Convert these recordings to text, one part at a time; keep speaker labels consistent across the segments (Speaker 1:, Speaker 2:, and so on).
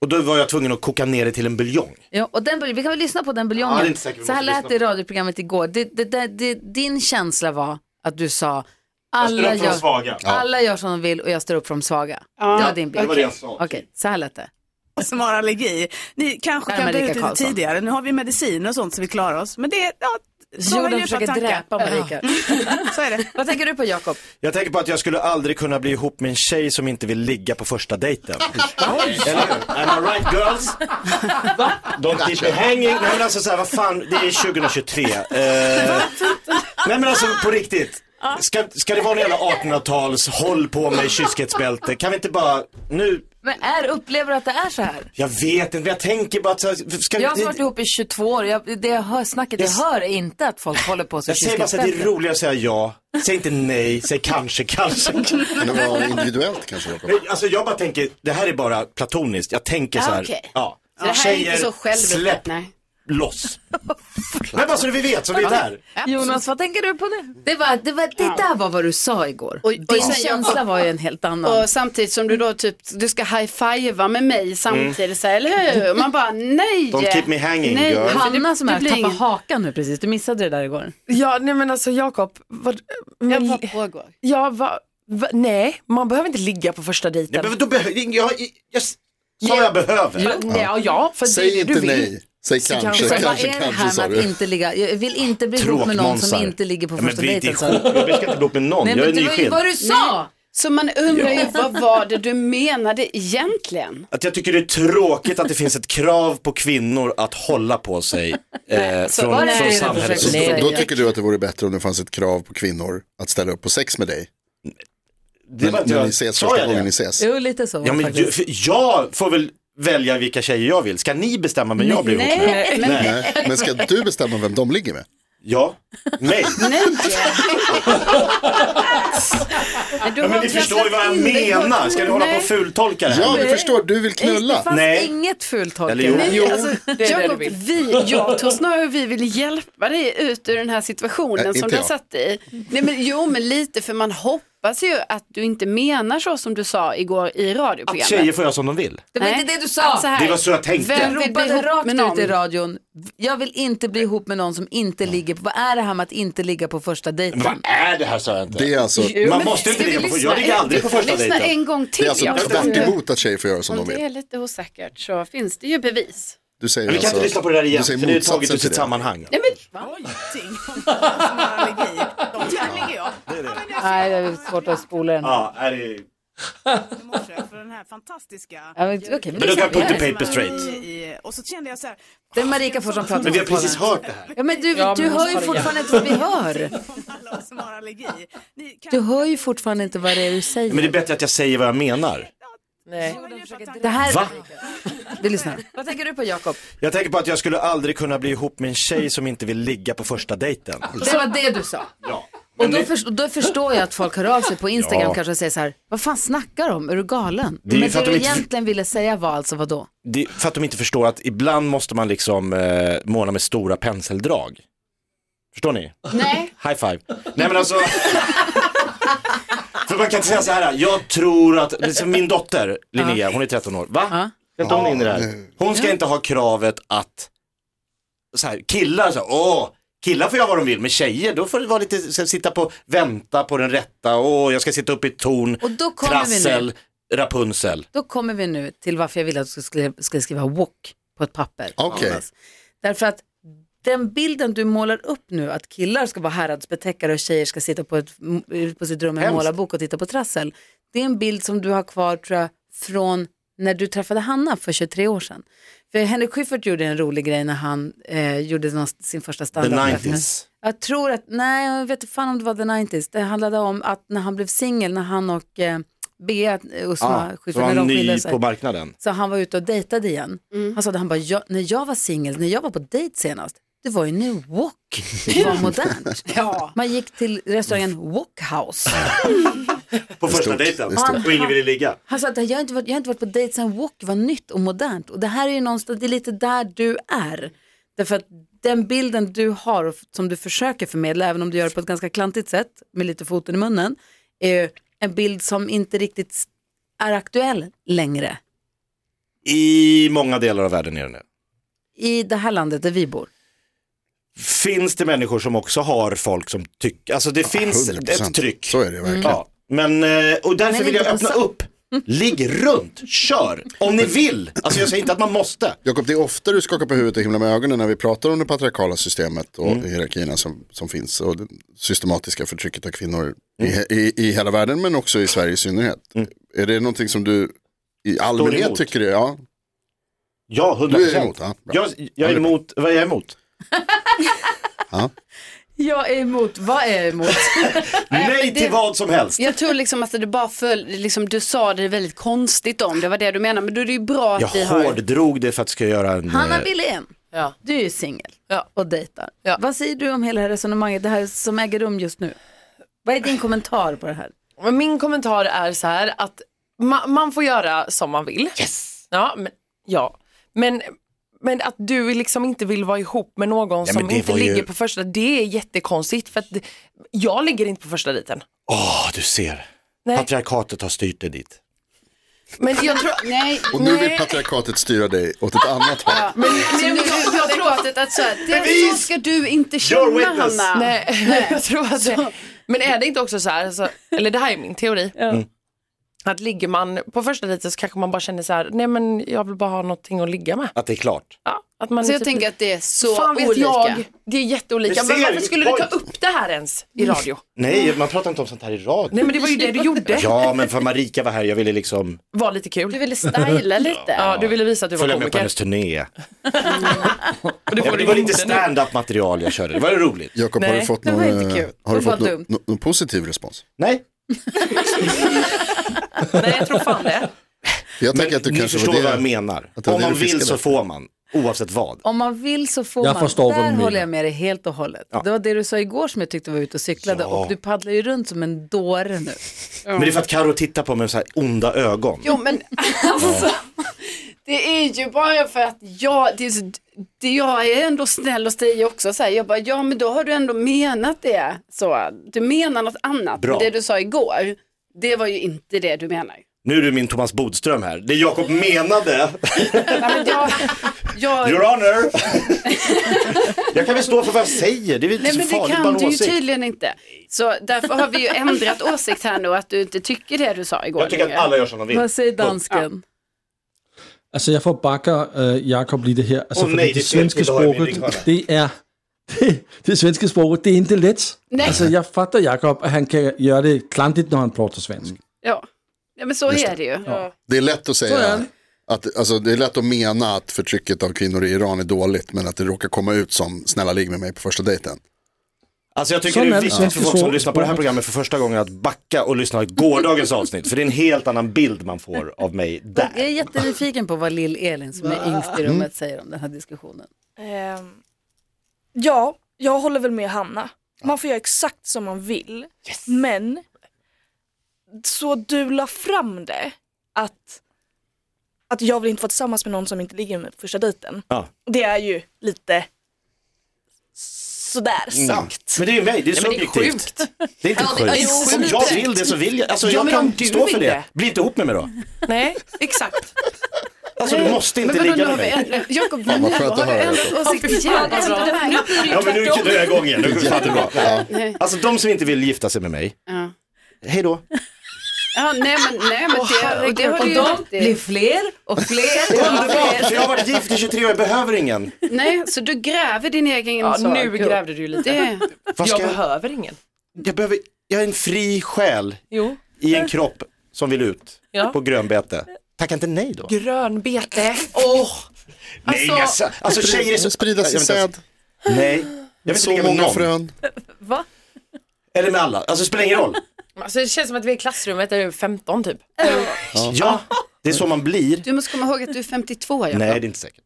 Speaker 1: Och då var jag tvungen att koka ner det till en buljong.
Speaker 2: ja, och den, bulj- vi kan väl lyssna på den
Speaker 1: Ja, det är
Speaker 2: buljongen.
Speaker 1: inte säkert vi
Speaker 2: så här
Speaker 1: måste
Speaker 2: lät
Speaker 1: lyssna
Speaker 2: det i radioprogrammet igår. Det, det, det, det, din känsla var att du sa alla
Speaker 1: ställer upp för de
Speaker 2: gör,
Speaker 1: svaga.
Speaker 2: alla gör som de vill och jag står upp för de svaga.
Speaker 3: Ja,
Speaker 2: det var din bild.
Speaker 3: det var
Speaker 1: det jag sa.
Speaker 2: Okej, så här lät det.
Speaker 4: som har allergi. Ni kanske
Speaker 2: Nej,
Speaker 4: kan
Speaker 2: men
Speaker 4: dö
Speaker 2: Rika
Speaker 4: ut lite
Speaker 2: Karlsson.
Speaker 4: tidigare. Nu har vi medicin och sånt så vi klarar oss. Men det är ja, sådana
Speaker 2: Jorden
Speaker 4: djupa
Speaker 2: försöker
Speaker 4: tankar.
Speaker 2: dräpa Marika.
Speaker 4: Ja, så är det.
Speaker 2: Vad tänker du på Jakob?
Speaker 1: Jag tänker på att jag skulle aldrig kunna bli ihop med en tjej som inte vill ligga på första dejten. Eller hur? Am I right girls? Don't keep me hanging. Nej men alltså såhär, vad fan, det är 2023. Eh, nej men alltså på riktigt. Ska, ska det vara någon jävla 1800-tals håll på mig kyskhetsbälte? Kan vi inte bara, nu,
Speaker 2: Men är, upplever du att det är så här?
Speaker 1: jag vet inte, men jag tänker bara att så här, ska vi,
Speaker 2: Jag har varit ihop i 22 år, jag, det jag hör, snacket jag
Speaker 1: Jag s-
Speaker 2: hör är inte att folk håller på så
Speaker 1: jag säger bara så här, det är
Speaker 2: kyskhetsbälte.
Speaker 1: roligare att säga ja. Säg inte nej, säg kanske, kanske.
Speaker 5: Men det var individuellt kanske Jakob.
Speaker 1: Nej, alltså jag bara tänker, det här är bara platoniskt. Jag tänker
Speaker 2: Ah,
Speaker 1: så här,
Speaker 3: okej.
Speaker 1: ja.
Speaker 4: det här är inte
Speaker 1: Tjejer,
Speaker 4: så själviskt,
Speaker 1: släpp
Speaker 4: nej.
Speaker 1: loss. Nej, bara så vi vet, så vi är där.
Speaker 2: Jonas, vad tänker du på nu? Det, var, det, var, det där var vad du sa igår.
Speaker 4: Och- och
Speaker 2: Din
Speaker 4: sen jag-
Speaker 2: känsla var ju en helt annan.
Speaker 4: Och samtidigt som du då typ, du ska high-fivea med mig samtidigt så här, eller hur? Och Man bara nej.
Speaker 1: Don't keep me hanging, girl.
Speaker 4: för det-
Speaker 2: Hanna som
Speaker 4: det
Speaker 2: är
Speaker 4: blir
Speaker 2: tappar
Speaker 4: ingen-
Speaker 2: hakan nu precis, du missade det där igår.
Speaker 6: Ja, nej men alltså Jakob, vad, men,
Speaker 4: Vad pågår?
Speaker 6: ja, va, va, nej, man behöver inte ligga på första
Speaker 1: Nej,
Speaker 6: dejten.
Speaker 1: men då behöver, jag, jag, jag sa jag behöver.
Speaker 6: Ja, nej, ja, ja, för det
Speaker 5: Säg
Speaker 6: är det du
Speaker 5: inte
Speaker 6: vill.
Speaker 5: nej. Säg
Speaker 6: kanske.
Speaker 5: kanske,
Speaker 2: Så vad
Speaker 5: kanske,
Speaker 2: är det
Speaker 5: kanske
Speaker 2: här
Speaker 5: sa
Speaker 2: med att
Speaker 5: du.
Speaker 2: inte ligga, jag vill inte bli ihop med någon som inte ligger på
Speaker 1: Ja, men
Speaker 2: första
Speaker 1: vi är inte
Speaker 2: dejten. sa
Speaker 1: ihop.
Speaker 2: du.
Speaker 1: Jag ska inte bli ihop med någon,
Speaker 2: Nej
Speaker 1: jag är
Speaker 2: men det var ju
Speaker 1: nyskild.
Speaker 2: vad du sa!
Speaker 3: Så man undrar ju vad var det du menade egentligen?
Speaker 1: Att jag tycker det är tråkigt att det finns ett krav på kvinnor att hålla på sig eh,
Speaker 2: vad är
Speaker 1: från,
Speaker 2: det
Speaker 1: från
Speaker 2: du
Speaker 1: samhället.
Speaker 2: försöker
Speaker 5: Så
Speaker 2: säga?
Speaker 5: då tycker du att det vore bättre om det fanns ett krav på kvinnor att ställa upp på sex med dig.
Speaker 1: Det
Speaker 5: Men,
Speaker 1: var inte
Speaker 5: när
Speaker 1: jag-
Speaker 5: ni ses
Speaker 1: sa
Speaker 5: första
Speaker 1: jag det?
Speaker 5: gången ni ses.
Speaker 2: Jo lite så var
Speaker 1: Ja,
Speaker 2: det
Speaker 1: men ju-
Speaker 2: faktiskt.
Speaker 1: för jag får väl välja vilka tjejer jag vill. Ska ni bestämma vem jag blir ihop med?
Speaker 3: Nej, men nej.
Speaker 5: Nej, men ska du bestämma vem de ligger med?
Speaker 1: Ja, nej.
Speaker 3: Du
Speaker 1: Ja, men
Speaker 3: har
Speaker 1: ni förstår ju
Speaker 3: trasslat
Speaker 1: vad jag
Speaker 3: in dig på-
Speaker 1: menar. Ska ni hålla på och
Speaker 3: Nej.
Speaker 1: fultolka det här?
Speaker 5: Ja, du förstår, du vill
Speaker 2: Det
Speaker 5: knulla.
Speaker 2: fanns
Speaker 1: Nej.
Speaker 2: inget fult
Speaker 1: Eller jo.
Speaker 2: Holger.
Speaker 3: Nej, alltså,
Speaker 6: det du
Speaker 3: Jakob,
Speaker 6: vill.
Speaker 3: vi, jag tror snarare vi vill hjälpa dig ut ur den här situationen
Speaker 5: Nej,
Speaker 3: som
Speaker 5: inte
Speaker 3: du har
Speaker 5: jag.
Speaker 3: satt dig i. Nej, men, jo, men lite för man hoppas
Speaker 4: hoppas ju att du inte menar så som du sa igår i radioprogrammet.
Speaker 1: Att tjejer får göra som de vill.
Speaker 2: Det var
Speaker 4: Nej.
Speaker 2: inte det du sa.
Speaker 4: Så här,
Speaker 1: Det var så jag tänkte.
Speaker 2: Vem
Speaker 4: vill bli
Speaker 2: ropade
Speaker 4: ihop
Speaker 2: rakt
Speaker 4: med
Speaker 2: ut
Speaker 4: någon?
Speaker 2: i radion, jag vill inte bli ihop med någon som inte ligger på, vad är det här med att inte ligga på första dejten?
Speaker 1: Vad är det här sa jag inte.
Speaker 5: Det är alltså,
Speaker 4: Jo,
Speaker 1: Man
Speaker 4: men
Speaker 1: måste
Speaker 4: ska
Speaker 1: inte
Speaker 4: vi
Speaker 1: ligga på första
Speaker 4: lyssna
Speaker 1: Jag ligger
Speaker 4: en-
Speaker 1: aldrig på första
Speaker 4: Lyssna
Speaker 1: dejten.
Speaker 4: en gång till.
Speaker 5: det är alltså
Speaker 4: jag
Speaker 5: tvärt emot att tjejer får göra som
Speaker 4: Om
Speaker 5: de
Speaker 4: det
Speaker 5: vill.
Speaker 4: är lite osäkert så finns det ju bevis.
Speaker 5: Du säger
Speaker 1: Men vi kan
Speaker 5: alltså,
Speaker 1: inte lyssna på det där igen,
Speaker 5: du säger
Speaker 1: för det är taget
Speaker 5: motsatsen
Speaker 1: ur
Speaker 5: till
Speaker 1: sitt
Speaker 5: det.
Speaker 1: sammanhang.
Speaker 4: Nej, men,
Speaker 2: Nej, det är svårt att spola den.
Speaker 1: Ja, är det...
Speaker 2: Ja, men- Okej, men
Speaker 1: Men då
Speaker 2: det
Speaker 1: kan
Speaker 2: är
Speaker 1: put the
Speaker 2: sant.
Speaker 1: paper straight.
Speaker 2: Det är Marika får som pratar
Speaker 1: Men vi har
Speaker 2: om
Speaker 1: precis hört det här.
Speaker 2: Ja, men du, du hör ju fortfarande inte vad vi hör. Du hör ju fortfarande inte vad det är du säger.
Speaker 1: Men det är bättre att jag säger vad jag menar.
Speaker 6: Nej.
Speaker 2: Det här...
Speaker 1: Va?
Speaker 2: Vi lyssnar. Vad tänker du på Jakob?
Speaker 1: Jag tänker på att jag skulle aldrig kunna bli ihop med en tjej som inte vill ligga på första dejten.
Speaker 2: Det var det du sa.
Speaker 1: Ja.
Speaker 2: Och
Speaker 1: Men
Speaker 2: då,
Speaker 1: det,
Speaker 2: förs- då förstår jag att folk hör av sig på Instagram
Speaker 1: Ja.
Speaker 2: kanske och säger så här, vad fan snackar de? Är du galen?
Speaker 1: Det är ju
Speaker 2: Men det
Speaker 1: för att
Speaker 2: du
Speaker 1: de inte-
Speaker 2: egentligen ville säga var alltså vadå?
Speaker 1: det, är för att de inte förstår att ibland måste man liksom eh, måla med stora penseldrag. Förstår ni?
Speaker 4: nej.
Speaker 1: High five. Nej men alltså. För man kan inte säga så här, jag tror att, det är som min dotter Linnea, hon är 13 år, va?
Speaker 2: Ja.
Speaker 1: Vet du om hon är inne där? Hon ska inte ha kravet att, så här, killar så här, åh, killar får göra vad de vill, men tjejer då får det vara lite, ska sitta på, vänta på den rätta, åh, jag ska sitta upp i ett torn,
Speaker 2: Och då kommer vi nu.
Speaker 1: trassel, Rapunzel.
Speaker 2: Då kommer vi nu till varför jag ville att du skulle skriva, skulle skriva walk på ett papper.
Speaker 5: Okej.
Speaker 2: Jonas. Därför att den bilden du målar upp nu, att killar ska vara häradsbetäckare och tjejer ska sitta på, ett, på sitt rum med en
Speaker 1: Hemskt.
Speaker 2: målarbok och titta på trassel. Det är en bild som du har kvar tror jag från när du träffade Hanna för 23 år sedan. För Henrik Schyffert gjorde en rolig grej när han eh, gjorde någon, sin första
Speaker 1: The
Speaker 2: standup.
Speaker 1: 90s.
Speaker 2: Jag tror att, nej jag vet inte fan om det var the 90s. Det handlade om att när han blev singel, när han och eh, Bea eh, Usma
Speaker 1: Ja,
Speaker 2: Schyffert,
Speaker 1: Ah, så var
Speaker 2: när
Speaker 1: han
Speaker 2: de skilde
Speaker 1: ny
Speaker 2: sig.
Speaker 1: på marknaden.
Speaker 2: Så han var ute och dejtade igen. Han sa att han bara, jag, när jag var singel, när jag var på dejt senast, det var ju nu walk var modernt. Man gick till restaurangen Walkhouse.
Speaker 1: På första
Speaker 5: stort.
Speaker 1: dejten,
Speaker 5: Det är
Speaker 1: och ingen ville ligga.
Speaker 2: Han sa att jag har inte varit, jag har inte varit på dejt sedan walk var nytt och modernt. Och det här är ju någonstans, det är lite där du är. Därför att den bilden du har och f- som du försöker förmedla, även om du gör det på ett ganska klantigt sätt, med lite foten i munnen, är ju en bild som inte riktigt s- är aktuell längre
Speaker 1: I många delar av världen är det nu.
Speaker 2: i det här landet där vi bor.
Speaker 1: finns det människor som också har folk som tycker, alltså det finns
Speaker 5: 100%.
Speaker 1: ett tryck.
Speaker 5: Så är det ju verkligen.
Speaker 1: Ja. Men, eh, och därför
Speaker 2: Men
Speaker 1: vill
Speaker 2: inte
Speaker 1: jag
Speaker 2: på
Speaker 1: öppna
Speaker 2: sa-
Speaker 1: upp. Ligg runt, kör, om ni vill. Alltså jag säger inte att man måste.
Speaker 5: Jakob, det är ofta du skakar på huvudet och himlar med ögonen när vi pratar om det patriarkala systemet och
Speaker 1: Mm.
Speaker 5: hierarkierna som, som finns och det systematiska förtrycket av kvinnor
Speaker 1: Mm.
Speaker 5: i, i, i hela världen men också i Sverige i synnerhet. Är det någonting som du i allmänhet
Speaker 1: emot.
Speaker 5: tycker är, ja,
Speaker 1: Ja, hundra
Speaker 5: Du är emot, ja, bra.
Speaker 1: jag, jag är emot, vad är jag emot?
Speaker 2: Jag är emot, vad är jag emot?
Speaker 1: Nej till vad som helst.
Speaker 4: Jag tror liksom att det bara föll, liksom, du sa det väldigt konstigt om, det var det du menade, men då är det ju bra att
Speaker 1: Jag
Speaker 4: vi har...
Speaker 1: hårddrog det för att jag ska göra en...
Speaker 2: Hanna
Speaker 1: eh,
Speaker 2: Billén,
Speaker 6: Ja.
Speaker 2: du är ju singel
Speaker 6: Ja.
Speaker 2: och dejtar.
Speaker 6: Ja.
Speaker 2: Vad säger du om hela det här resonemanget, det här som äger rum just nu? Vad är din kommentar på det här?
Speaker 6: Men min kommentar är så här att ma- man får göra som man vill. Yes! Ja, men, ja. men, men att du liksom inte vill vara ihop med någon
Speaker 1: Ja, men
Speaker 6: som
Speaker 1: det
Speaker 6: inte
Speaker 1: var ju-
Speaker 6: ligger på första, det är jättekonstigt för att det, jag ligger inte på första dejten.
Speaker 1: Åh, du ser.
Speaker 6: Nej.
Speaker 1: Patriarkatet har styrt dig dit.
Speaker 6: Men jag tror,
Speaker 4: Nej,
Speaker 5: och nu vill
Speaker 6: Nej.
Speaker 5: patriarkatet styra dig åt ett annat håll.
Speaker 4: men, men jag, jag tror att, att så, här, det, så
Speaker 1: Bevis!
Speaker 4: ska du inte
Speaker 1: Your
Speaker 4: känna
Speaker 1: witness.
Speaker 4: Hanna.
Speaker 6: nej, jag tror att det, men är det inte också så här, alltså, eller det här är min teori,
Speaker 1: Mm.
Speaker 6: att ligger man på första dejten så kanske man bara känner så här, nej men jag vill bara ha någonting att ligga med.
Speaker 1: Att det är klart.
Speaker 6: Ja, att man
Speaker 4: Så
Speaker 6: är
Speaker 4: jag
Speaker 6: typ-
Speaker 4: tänker att det är så
Speaker 6: Fan vet
Speaker 4: olika.
Speaker 6: jag, det är jätteolika.
Speaker 1: Du
Speaker 6: Men
Speaker 1: ser,
Speaker 6: varför skulle du ta
Speaker 1: point.
Speaker 6: upp det här ens i radio?
Speaker 1: Nej, man pratar inte om sånt här i radio.
Speaker 6: Nej men det var ju det du gjorde.
Speaker 1: Ja, men för Marika var här, jag ville liksom
Speaker 6: Var lite kul.
Speaker 4: Du ville styla lite.
Speaker 6: Ja, du ville visa att du var
Speaker 1: följa med
Speaker 6: komiker.
Speaker 1: på hennes turné.
Speaker 6: Och det
Speaker 1: Ja,
Speaker 6: får
Speaker 1: men det
Speaker 6: du
Speaker 1: var
Speaker 6: inte
Speaker 1: lite
Speaker 6: nu.
Speaker 1: stand-up material jag körde, det var ju roligt.
Speaker 5: Jakob, har
Speaker 6: Nej,
Speaker 5: du fått
Speaker 2: det
Speaker 5: någon,
Speaker 2: var inte
Speaker 5: eh,
Speaker 2: kul.
Speaker 5: har du
Speaker 2: Det var
Speaker 5: fått någon,
Speaker 2: dumt.
Speaker 5: någon, någon positiv respons?
Speaker 1: Nej,
Speaker 6: Nej jag tror fan det.
Speaker 5: För jag tänker att du
Speaker 1: ni
Speaker 5: kanske
Speaker 1: förstår
Speaker 5: var
Speaker 1: vad
Speaker 5: det.
Speaker 1: jag menar.
Speaker 5: att det var
Speaker 1: Om
Speaker 5: det
Speaker 1: man
Speaker 5: du
Speaker 1: vill
Speaker 5: fiskade
Speaker 1: så
Speaker 5: efter.
Speaker 1: får man, oavsett vad.
Speaker 2: Om man vill så får
Speaker 7: Jag
Speaker 2: man.
Speaker 7: förstår vad
Speaker 2: Där
Speaker 7: du menar.
Speaker 2: håller jag med dig helt och hållet. Det var det du sa igår som jag tyckte var ute och cyklade
Speaker 1: Ja.
Speaker 2: och du paddlar ju runt som en dåre nu.
Speaker 1: Men det är för att Karo tittar på mig med så här onda ögon.
Speaker 4: Jo men alltså, det är ju bara för att jag, det är så, det, jag är ändå snäll och Stig också. Så här, jag bara, ja men då har du ändå menat det. Så, du menar något annat.
Speaker 1: Bra.
Speaker 4: Det du sa igår, det var ju inte det du menar.
Speaker 1: Nu är du min Thomas Bodström här. Det Jakob menade,
Speaker 4: Nej, men jag, jag,
Speaker 1: your honor. jag kan väl stå för vad jag säger, det är väl
Speaker 4: Nej
Speaker 1: inte så
Speaker 4: men det
Speaker 1: farligt,
Speaker 4: kan
Speaker 1: bara
Speaker 4: du
Speaker 1: en
Speaker 4: ju
Speaker 1: åsikt.
Speaker 4: tydligen inte. Så därför har vi ju ändrat åsikt här nu att du inte tycker det du sa igår.
Speaker 1: Jag tycker att alla gör som de vill.
Speaker 2: Vad säger dansken?
Speaker 7: Altså, jeg får bakker øh, Jakob lige det her. Altså,
Speaker 1: Åh,
Speaker 7: fordi
Speaker 1: nej, det
Speaker 7: det
Speaker 1: skal jeg
Speaker 7: svenske
Speaker 1: ikke løje med,
Speaker 7: sproget,
Speaker 1: det holder.
Speaker 7: det er... Det, det svenske sproget, det er ikke let.
Speaker 4: Nej.
Speaker 1: Alltså,
Speaker 7: Altså, jeg fatter Jakob, at han kan gøre det klantigt, når han prater svensk.
Speaker 4: Ja. ja men så
Speaker 5: Just
Speaker 4: är det ju. Ja.
Speaker 5: Det är lätt att
Speaker 7: Så är det.
Speaker 5: säga att, alltså, det är lätt att mena att förtrycket av kvinnor i Iran är dåligt men att det råkar komma ut som snälla ligg med mig på första dejten.
Speaker 1: Alltså jag tycker
Speaker 7: Sån
Speaker 1: det
Speaker 7: är
Speaker 1: är
Speaker 7: det
Speaker 1: viktigt för folk som
Speaker 7: svenska
Speaker 1: lyssnar på det här
Speaker 7: språket.
Speaker 1: programmet för första gången att backa och lyssna på gårdagens avsnitt. För det är en helt annan bild man får av mig där.
Speaker 2: Jag är jättenyfiken på vad Lill-Elin som är yngst i
Speaker 7: Mm.
Speaker 2: rummet säger om den här diskussionen.
Speaker 8: Ehm, ja, jag håller väl med Hanna. Man får göra exakt som man vill. Men så du la fram det att, att jag vill inte vara tillsammans med någon som inte ligger med mig på första dejten.
Speaker 1: Ja.
Speaker 8: Det är ju lite sådär sagt.
Speaker 1: Mm. Men det är ju mig, det
Speaker 8: Nej,
Speaker 1: är
Speaker 8: men det är
Speaker 1: subjektivt. Det är inte
Speaker 8: Ja, det är
Speaker 1: sjukt. Om
Speaker 8: sjukt.
Speaker 1: jag vill det så vill jag. Alltså
Speaker 8: Ja,
Speaker 1: jag
Speaker 8: men om
Speaker 1: kan
Speaker 8: du
Speaker 1: stå för
Speaker 8: vill
Speaker 1: det.
Speaker 8: det.
Speaker 1: Bli inte ihop med mig då.
Speaker 8: Nej, exakt.
Speaker 1: Alltså du måste inte
Speaker 3: Men vadå,
Speaker 1: ligga
Speaker 3: nu
Speaker 1: med
Speaker 3: har vi
Speaker 1: mig.
Speaker 3: ändrat- Jakob,
Speaker 5: Fan, vad skönt att höra.
Speaker 3: ändrat åsikt
Speaker 4: fy
Speaker 3: igen.
Speaker 4: fan,
Speaker 6: alltså,
Speaker 4: vad bra.
Speaker 3: Det här- nu blir det ju
Speaker 1: Ja men nu
Speaker 3: tvärtom.
Speaker 1: nu är jag igång igen, nu kommer det bra.
Speaker 5: Ja.
Speaker 4: Nej.
Speaker 1: Alltså de som inte vill gifta sig med mig,
Speaker 4: Ja.
Speaker 1: hej då.
Speaker 4: Ja, nej men, nej, men det, och det har
Speaker 2: Och
Speaker 4: du ju
Speaker 2: de
Speaker 4: rätt
Speaker 2: blir
Speaker 4: i.
Speaker 2: fler och fler och
Speaker 1: Underbart, för
Speaker 2: fler.
Speaker 1: jag har varit gift i 23 år, jag behöver ingen.
Speaker 4: Nej, så du gräver din egen
Speaker 6: Ja,
Speaker 4: sak.
Speaker 6: nu grävde du ju lite.
Speaker 4: Det,
Speaker 6: jag
Speaker 1: Vad ska jag,
Speaker 6: behöver ingen.
Speaker 1: jag, behöver, jag är en fri själ
Speaker 6: Jo.
Speaker 1: i en kropp som vill ut
Speaker 6: Ja.
Speaker 1: på grönbete. Tacka inte nej då.
Speaker 6: Grönbete. Åh!
Speaker 1: Nej,
Speaker 6: Alltså-
Speaker 1: alltså, alltså tjejer är så...
Speaker 5: Sprida
Speaker 1: Jag vet
Speaker 5: sin
Speaker 1: inte ens-
Speaker 5: säd,
Speaker 1: Nej, jag vill inte
Speaker 5: så
Speaker 1: ligga med
Speaker 5: många
Speaker 1: någon.
Speaker 5: frön.
Speaker 1: Eller med alla, alltså det spelar ingen roll.
Speaker 6: Alltså, det känns som att vi är i klassrummet där det är 15 typ.
Speaker 1: Ja, det är så man blir.
Speaker 4: du måste komma ihåg att du är 52 Jakob.
Speaker 1: Nej, det är inte säkert.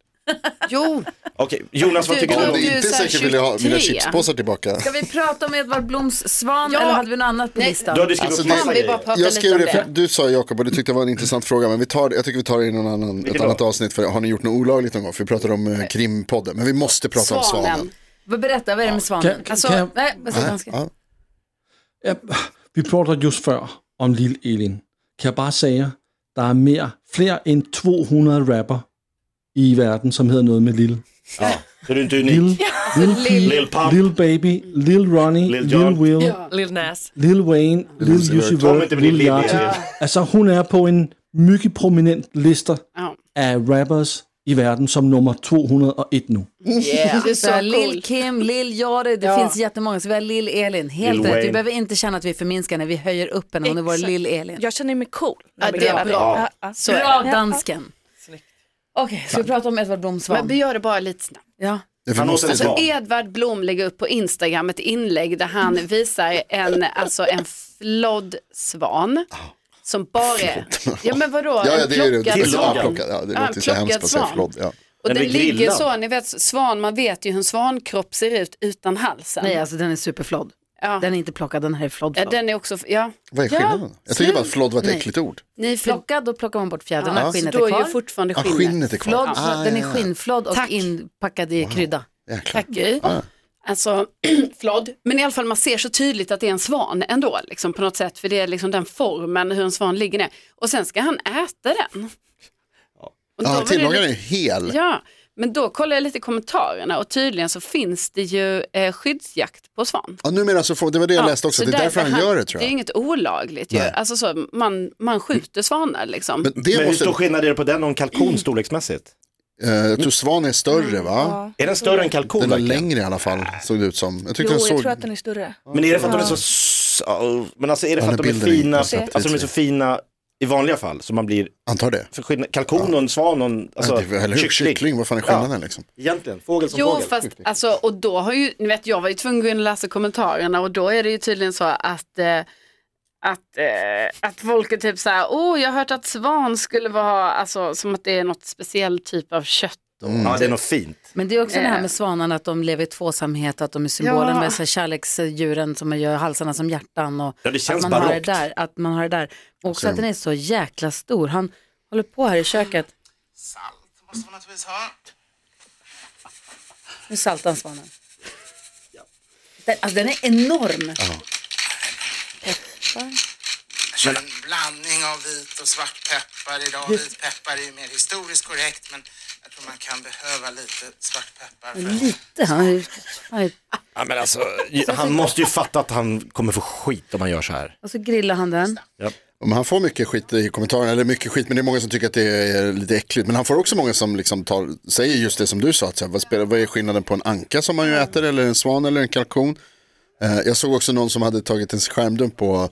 Speaker 4: Jo,
Speaker 1: Okej, Jonas vad
Speaker 4: Du-
Speaker 1: tycker
Speaker 4: du-
Speaker 1: du
Speaker 5: Om det
Speaker 1: om
Speaker 4: ju
Speaker 5: inte är
Speaker 4: så här
Speaker 5: säkert vill jag ha mina
Speaker 4: 23.
Speaker 5: chipspåsar tillbaka.
Speaker 2: Ska vi prata om Edvard Bloms svan
Speaker 4: Ja.
Speaker 2: eller hade vi något annat på
Speaker 4: Nej.
Speaker 1: Du
Speaker 2: listan?
Speaker 1: hade skrivit
Speaker 5: Alltså,
Speaker 1: upp
Speaker 5: det-
Speaker 1: massa
Speaker 4: vi bara
Speaker 1: grejer.
Speaker 4: pratar
Speaker 5: Jag
Speaker 4: lite
Speaker 5: skrev
Speaker 4: om
Speaker 5: det, för
Speaker 4: det.
Speaker 5: du sa Jakob och det tyckte jag var en intressant fråga men vi tar, jag tycker vi tar det i någon annan, ett
Speaker 1: då?
Speaker 5: annat avsnitt för har ni gjort något olagligt någon gång? För vi pratade om eh, krimpodden men vi måste prata om svanen.
Speaker 4: svanen.
Speaker 2: Vad- Berätta, vad är det med svanen?
Speaker 7: Kan- kan-
Speaker 2: Alltså,
Speaker 7: kan jag-
Speaker 2: nej, vad säger dansken?
Speaker 5: Ja.
Speaker 7: Ja, vi pratede just før om Lille Elin. Kan jeg bare sige, der er mere, flere end 200 rapper i verden, som hedder noget med Lille.
Speaker 1: Ja, så du är inte
Speaker 7: Lille,
Speaker 1: unik.
Speaker 7: Lille,
Speaker 1: Lil Pump,
Speaker 7: Lil Baby, Lil Ronnie,
Speaker 1: Lil
Speaker 7: Lil,
Speaker 1: Jon.
Speaker 7: Will,
Speaker 6: Lil Nas.
Speaker 7: Lil Wayne, Lil
Speaker 5: Uzi
Speaker 7: Uzi
Speaker 5: Vert.
Speaker 1: Tror man
Speaker 7: Vert,
Speaker 1: inte på det
Speaker 7: Lil
Speaker 1: Lil
Speaker 7: Yachty.
Speaker 1: Elin.
Speaker 7: Altså hun er på en mycket prominent liste
Speaker 4: Ja.
Speaker 7: af rappers i verden som nummer 201 nu.
Speaker 4: Det är
Speaker 2: Så här,
Speaker 4: så
Speaker 2: Lill
Speaker 4: cool.
Speaker 2: Kim, Lill Jari, det finns jättemånga. Så vi har Lill-Elin, helt
Speaker 1: Lil
Speaker 2: rätt.
Speaker 1: Wayne.
Speaker 2: Vi behöver inte känna att vi förminskar när vi höjer upp henne. Hon är vår
Speaker 8: Exakt.
Speaker 2: Lill-Elin.
Speaker 8: Jag känner mig cool.
Speaker 4: Ja, det är bra.
Speaker 8: Ja,
Speaker 4: Så är
Speaker 2: Bra
Speaker 4: det.
Speaker 2: dansken. Okej, ska vi prata om Edvard Bloms
Speaker 4: Men vi
Speaker 2: svan?
Speaker 4: gör det bara lite snabbt.
Speaker 2: Ja.
Speaker 5: Ja, vi
Speaker 1: Han
Speaker 5: måste-
Speaker 1: åt
Speaker 4: Alltså,
Speaker 1: en svan.
Speaker 4: Edvard Blom lägger upp på Instagram ett inlägg där
Speaker 5: Mm.
Speaker 4: han visar en, alltså en flodd svan. Som bara är... Ja men vadå?
Speaker 5: Ah. Ja, ja
Speaker 4: en
Speaker 5: det är ju det.
Speaker 4: plockad
Speaker 1: Tillagad.
Speaker 5: Ja,
Speaker 4: svan.
Speaker 5: plockad. Ja, det
Speaker 4: Ja, en
Speaker 5: låter ju så hemskt att säga
Speaker 4: plockad
Speaker 5: flodd. Ja.
Speaker 4: Och
Speaker 1: Den
Speaker 4: den,
Speaker 1: är
Speaker 4: ligger
Speaker 1: grillad.
Speaker 4: så, ni vet svan, man vet ju hur en svankropp ser ut utan halsen.
Speaker 2: Nej, alltså den är superflodd.
Speaker 4: ja.
Speaker 2: Den är inte plockad, den här är flodd.
Speaker 4: Ja,
Speaker 2: flodd.
Speaker 4: den är också, ja,
Speaker 5: Vad är skillnaden? Jag tycker bara att flodd var ett
Speaker 2: Nej.
Speaker 5: äckligt ord.
Speaker 4: ni är för,
Speaker 2: Plockad, då plockar man bort fjädrarna,
Speaker 4: ja, så
Speaker 2: skinnet
Speaker 4: då
Speaker 2: är
Speaker 4: är ju
Speaker 2: kvar.
Speaker 4: fortfarande
Speaker 5: Ja,
Speaker 4: skinnet.
Speaker 5: skinnet är
Speaker 2: Flodd,
Speaker 5: kvar. Ah,
Speaker 2: så att den är
Speaker 5: ja, ja.
Speaker 2: skinnflodd och
Speaker 4: Tack.
Speaker 2: inpackad i krydda.
Speaker 5: Jäklar.
Speaker 4: Tack Gry.
Speaker 5: Ja.
Speaker 4: Alltså flodd, men i alla fall man ser så tydligt att det är en svan ändå, liksom, på något sätt, för det är liksom den formen hur en svan ligger ner. Och sen ska han äta den. Och då
Speaker 5: Ja,
Speaker 4: var
Speaker 5: han
Speaker 4: det
Speaker 5: tillagar den
Speaker 4: lite-
Speaker 5: ju hel.
Speaker 4: Ja, men då kollar jag lite i kommentarerna och tydligen så finns det ju eh, skyddsjakt på svan.
Speaker 5: Ja, numera så får, det var det jag läste också,
Speaker 4: så
Speaker 5: det är därför han gör det tror
Speaker 4: Det är
Speaker 5: jag.
Speaker 4: inget olagligt ju,
Speaker 5: Nej.
Speaker 4: alltså så, man, man skjuter svanar liksom.
Speaker 5: Men det
Speaker 1: Men hur
Speaker 5: måste,
Speaker 1: stor skillnad är det på den och en kalkon storleksmässigt?
Speaker 5: eh, jag tror svan är större va?
Speaker 1: Är den större än
Speaker 5: Den
Speaker 1: kalkon?
Speaker 5: var
Speaker 1: verkligen?
Speaker 5: längre i alla fall, såg det ut som. Jag
Speaker 8: Jo,
Speaker 5: tyckte den
Speaker 8: jag
Speaker 5: såg...
Speaker 8: tror att den är större.
Speaker 1: Men är det för att de är så... s- Men alltså är det för
Speaker 5: Ja,
Speaker 1: att de är
Speaker 5: bilden är inte
Speaker 1: fina,
Speaker 5: så
Speaker 1: alltså de är så fina i vanliga fall så man blir
Speaker 5: Antar det.
Speaker 1: För skillnad, kalkon och en svan och en alltså,
Speaker 5: ja, det är, eller hur?
Speaker 1: kyckling.
Speaker 5: Kyckling, vad fan är skillnaden liksom?
Speaker 1: Egentligen, fågel som
Speaker 4: Jo,
Speaker 1: fågel.
Speaker 4: fast alltså, och då har ju, ni vet jag var ju tvungen att läsa kommentarerna och då är det ju tydligen så att eh, att, eh, att folk är typ så här, åh jag har hört att svan skulle vara, alltså som att det är något speciell typ av kött.
Speaker 1: Ja, det är något fint.
Speaker 2: Men det är också det här
Speaker 4: Eh.
Speaker 2: med svanarna, att de lever i tvåsamhet och att de är symbolen
Speaker 4: Ja.
Speaker 2: med så här kärleksdjuren som man gör halsarna som hjärtan och
Speaker 1: Ja, det känns
Speaker 2: att, man har det
Speaker 1: barockt.
Speaker 2: där, att man har det där. Och också
Speaker 5: Så-
Speaker 2: att den är så jäkla stor. Han håller på här i köket.
Speaker 9: Salt måste man naturligtvis ha.
Speaker 2: Nu saltar han svanen. Den, alltså, den är enorm. Peppar.
Speaker 9: Jag kör en blandning av vit och svartpeppar idag. Vitpeppar är ju mer historiskt korrekt men jag tror man kan behöva lite svartpeppar. för-
Speaker 2: Lite, han är ju... han är-
Speaker 1: Ja, men alltså, han måste ju fatta att han kommer få skit om han gör så här.
Speaker 2: Och så alltså, grillar han den.
Speaker 5: Om han får mycket skit i kommentarerna, eller mycket skit, men det är många som tycker att det är lite äckligt. Men han får också många som liksom tar, säger just det som du sa, att så här, vad, spelar, vad är skillnaden på en anka som man ju äter, eller en svan eller en kalkon? Eh, jag såg också någon som hade tagit en skärmdump på,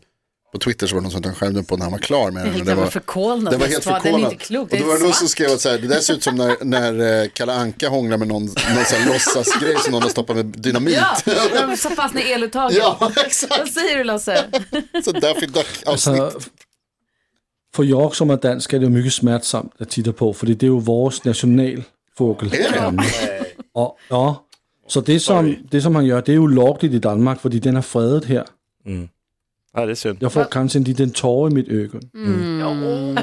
Speaker 5: på Twitter, så var det någon som tog en skärmdump på när han var klar med den.
Speaker 2: Helt
Speaker 5: och
Speaker 2: den var förkolnad.
Speaker 5: Den var
Speaker 2: Den
Speaker 5: helt
Speaker 2: var- den är
Speaker 5: förkolnad.
Speaker 2: inte klok,
Speaker 5: och
Speaker 2: det
Speaker 5: då
Speaker 2: är
Speaker 5: var det någon som
Speaker 2: svart.
Speaker 5: skrev att så här, det där ser ut som när, när eh, Kalle Anka hånglar med någon, någon så här låtsasgrej som någon har stoppat med dynamit.
Speaker 2: Ja, de satt fast i eluttaget.
Speaker 5: Ja, exakt.
Speaker 2: Vad säger du Lasse?
Speaker 5: så därför
Speaker 7: Altså, for York, Alltså, som er dansk, er det jo mye smertsomt at titte på, fordi det er jo vores nationalfugl i Danmark. Og, ja, så det som, det, som han gør, det er jo lovligt i Danmark, fordi den er fredet her.
Speaker 1: Ja, det är synd.
Speaker 7: Jeg får kanskje en liten tårer i mit øje.
Speaker 1: Mm.
Speaker 3: Ja, men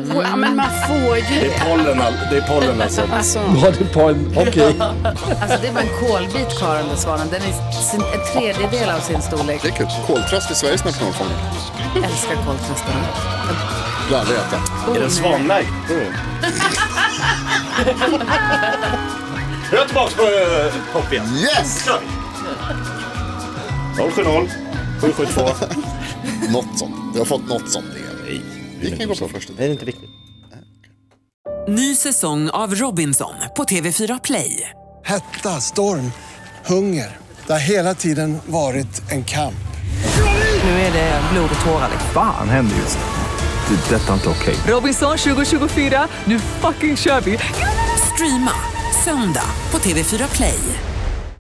Speaker 3: man får ju
Speaker 1: Det är pollen, all- det är pollen alltså.
Speaker 3: Alltså.
Speaker 7: Nå, det er på en... Okay.
Speaker 2: Alltså det var en kolbit kvar den där svanen. Den är sin, en tredjedel av sin storlek.
Speaker 5: Det är kul. Koltrast är Sveriges nationalfågel.
Speaker 2: Jag älskar koltrastarna.
Speaker 5: Skulle aldrig äta.
Speaker 1: Är den svanmärkt? Mm. Nu är jag tillbaka på eh, hopp igen.
Speaker 5: Yes!
Speaker 1: 070 772.
Speaker 5: något sånt. Du har fått något sånt igen. Nej. Vi kan gå på första.
Speaker 1: Det är inte viktigt.
Speaker 10: Ny säsong av Robinson på TV4 Play.
Speaker 11: Hetta, storm, hunger. Det har hela tiden varit en kamp.
Speaker 10: Nu är det blod och tårar.
Speaker 12: Fan händer just det. Det är detta inte okej.
Speaker 10: Robinson 2024, nu fucking kör vi! Streama söndag på TV4 Play.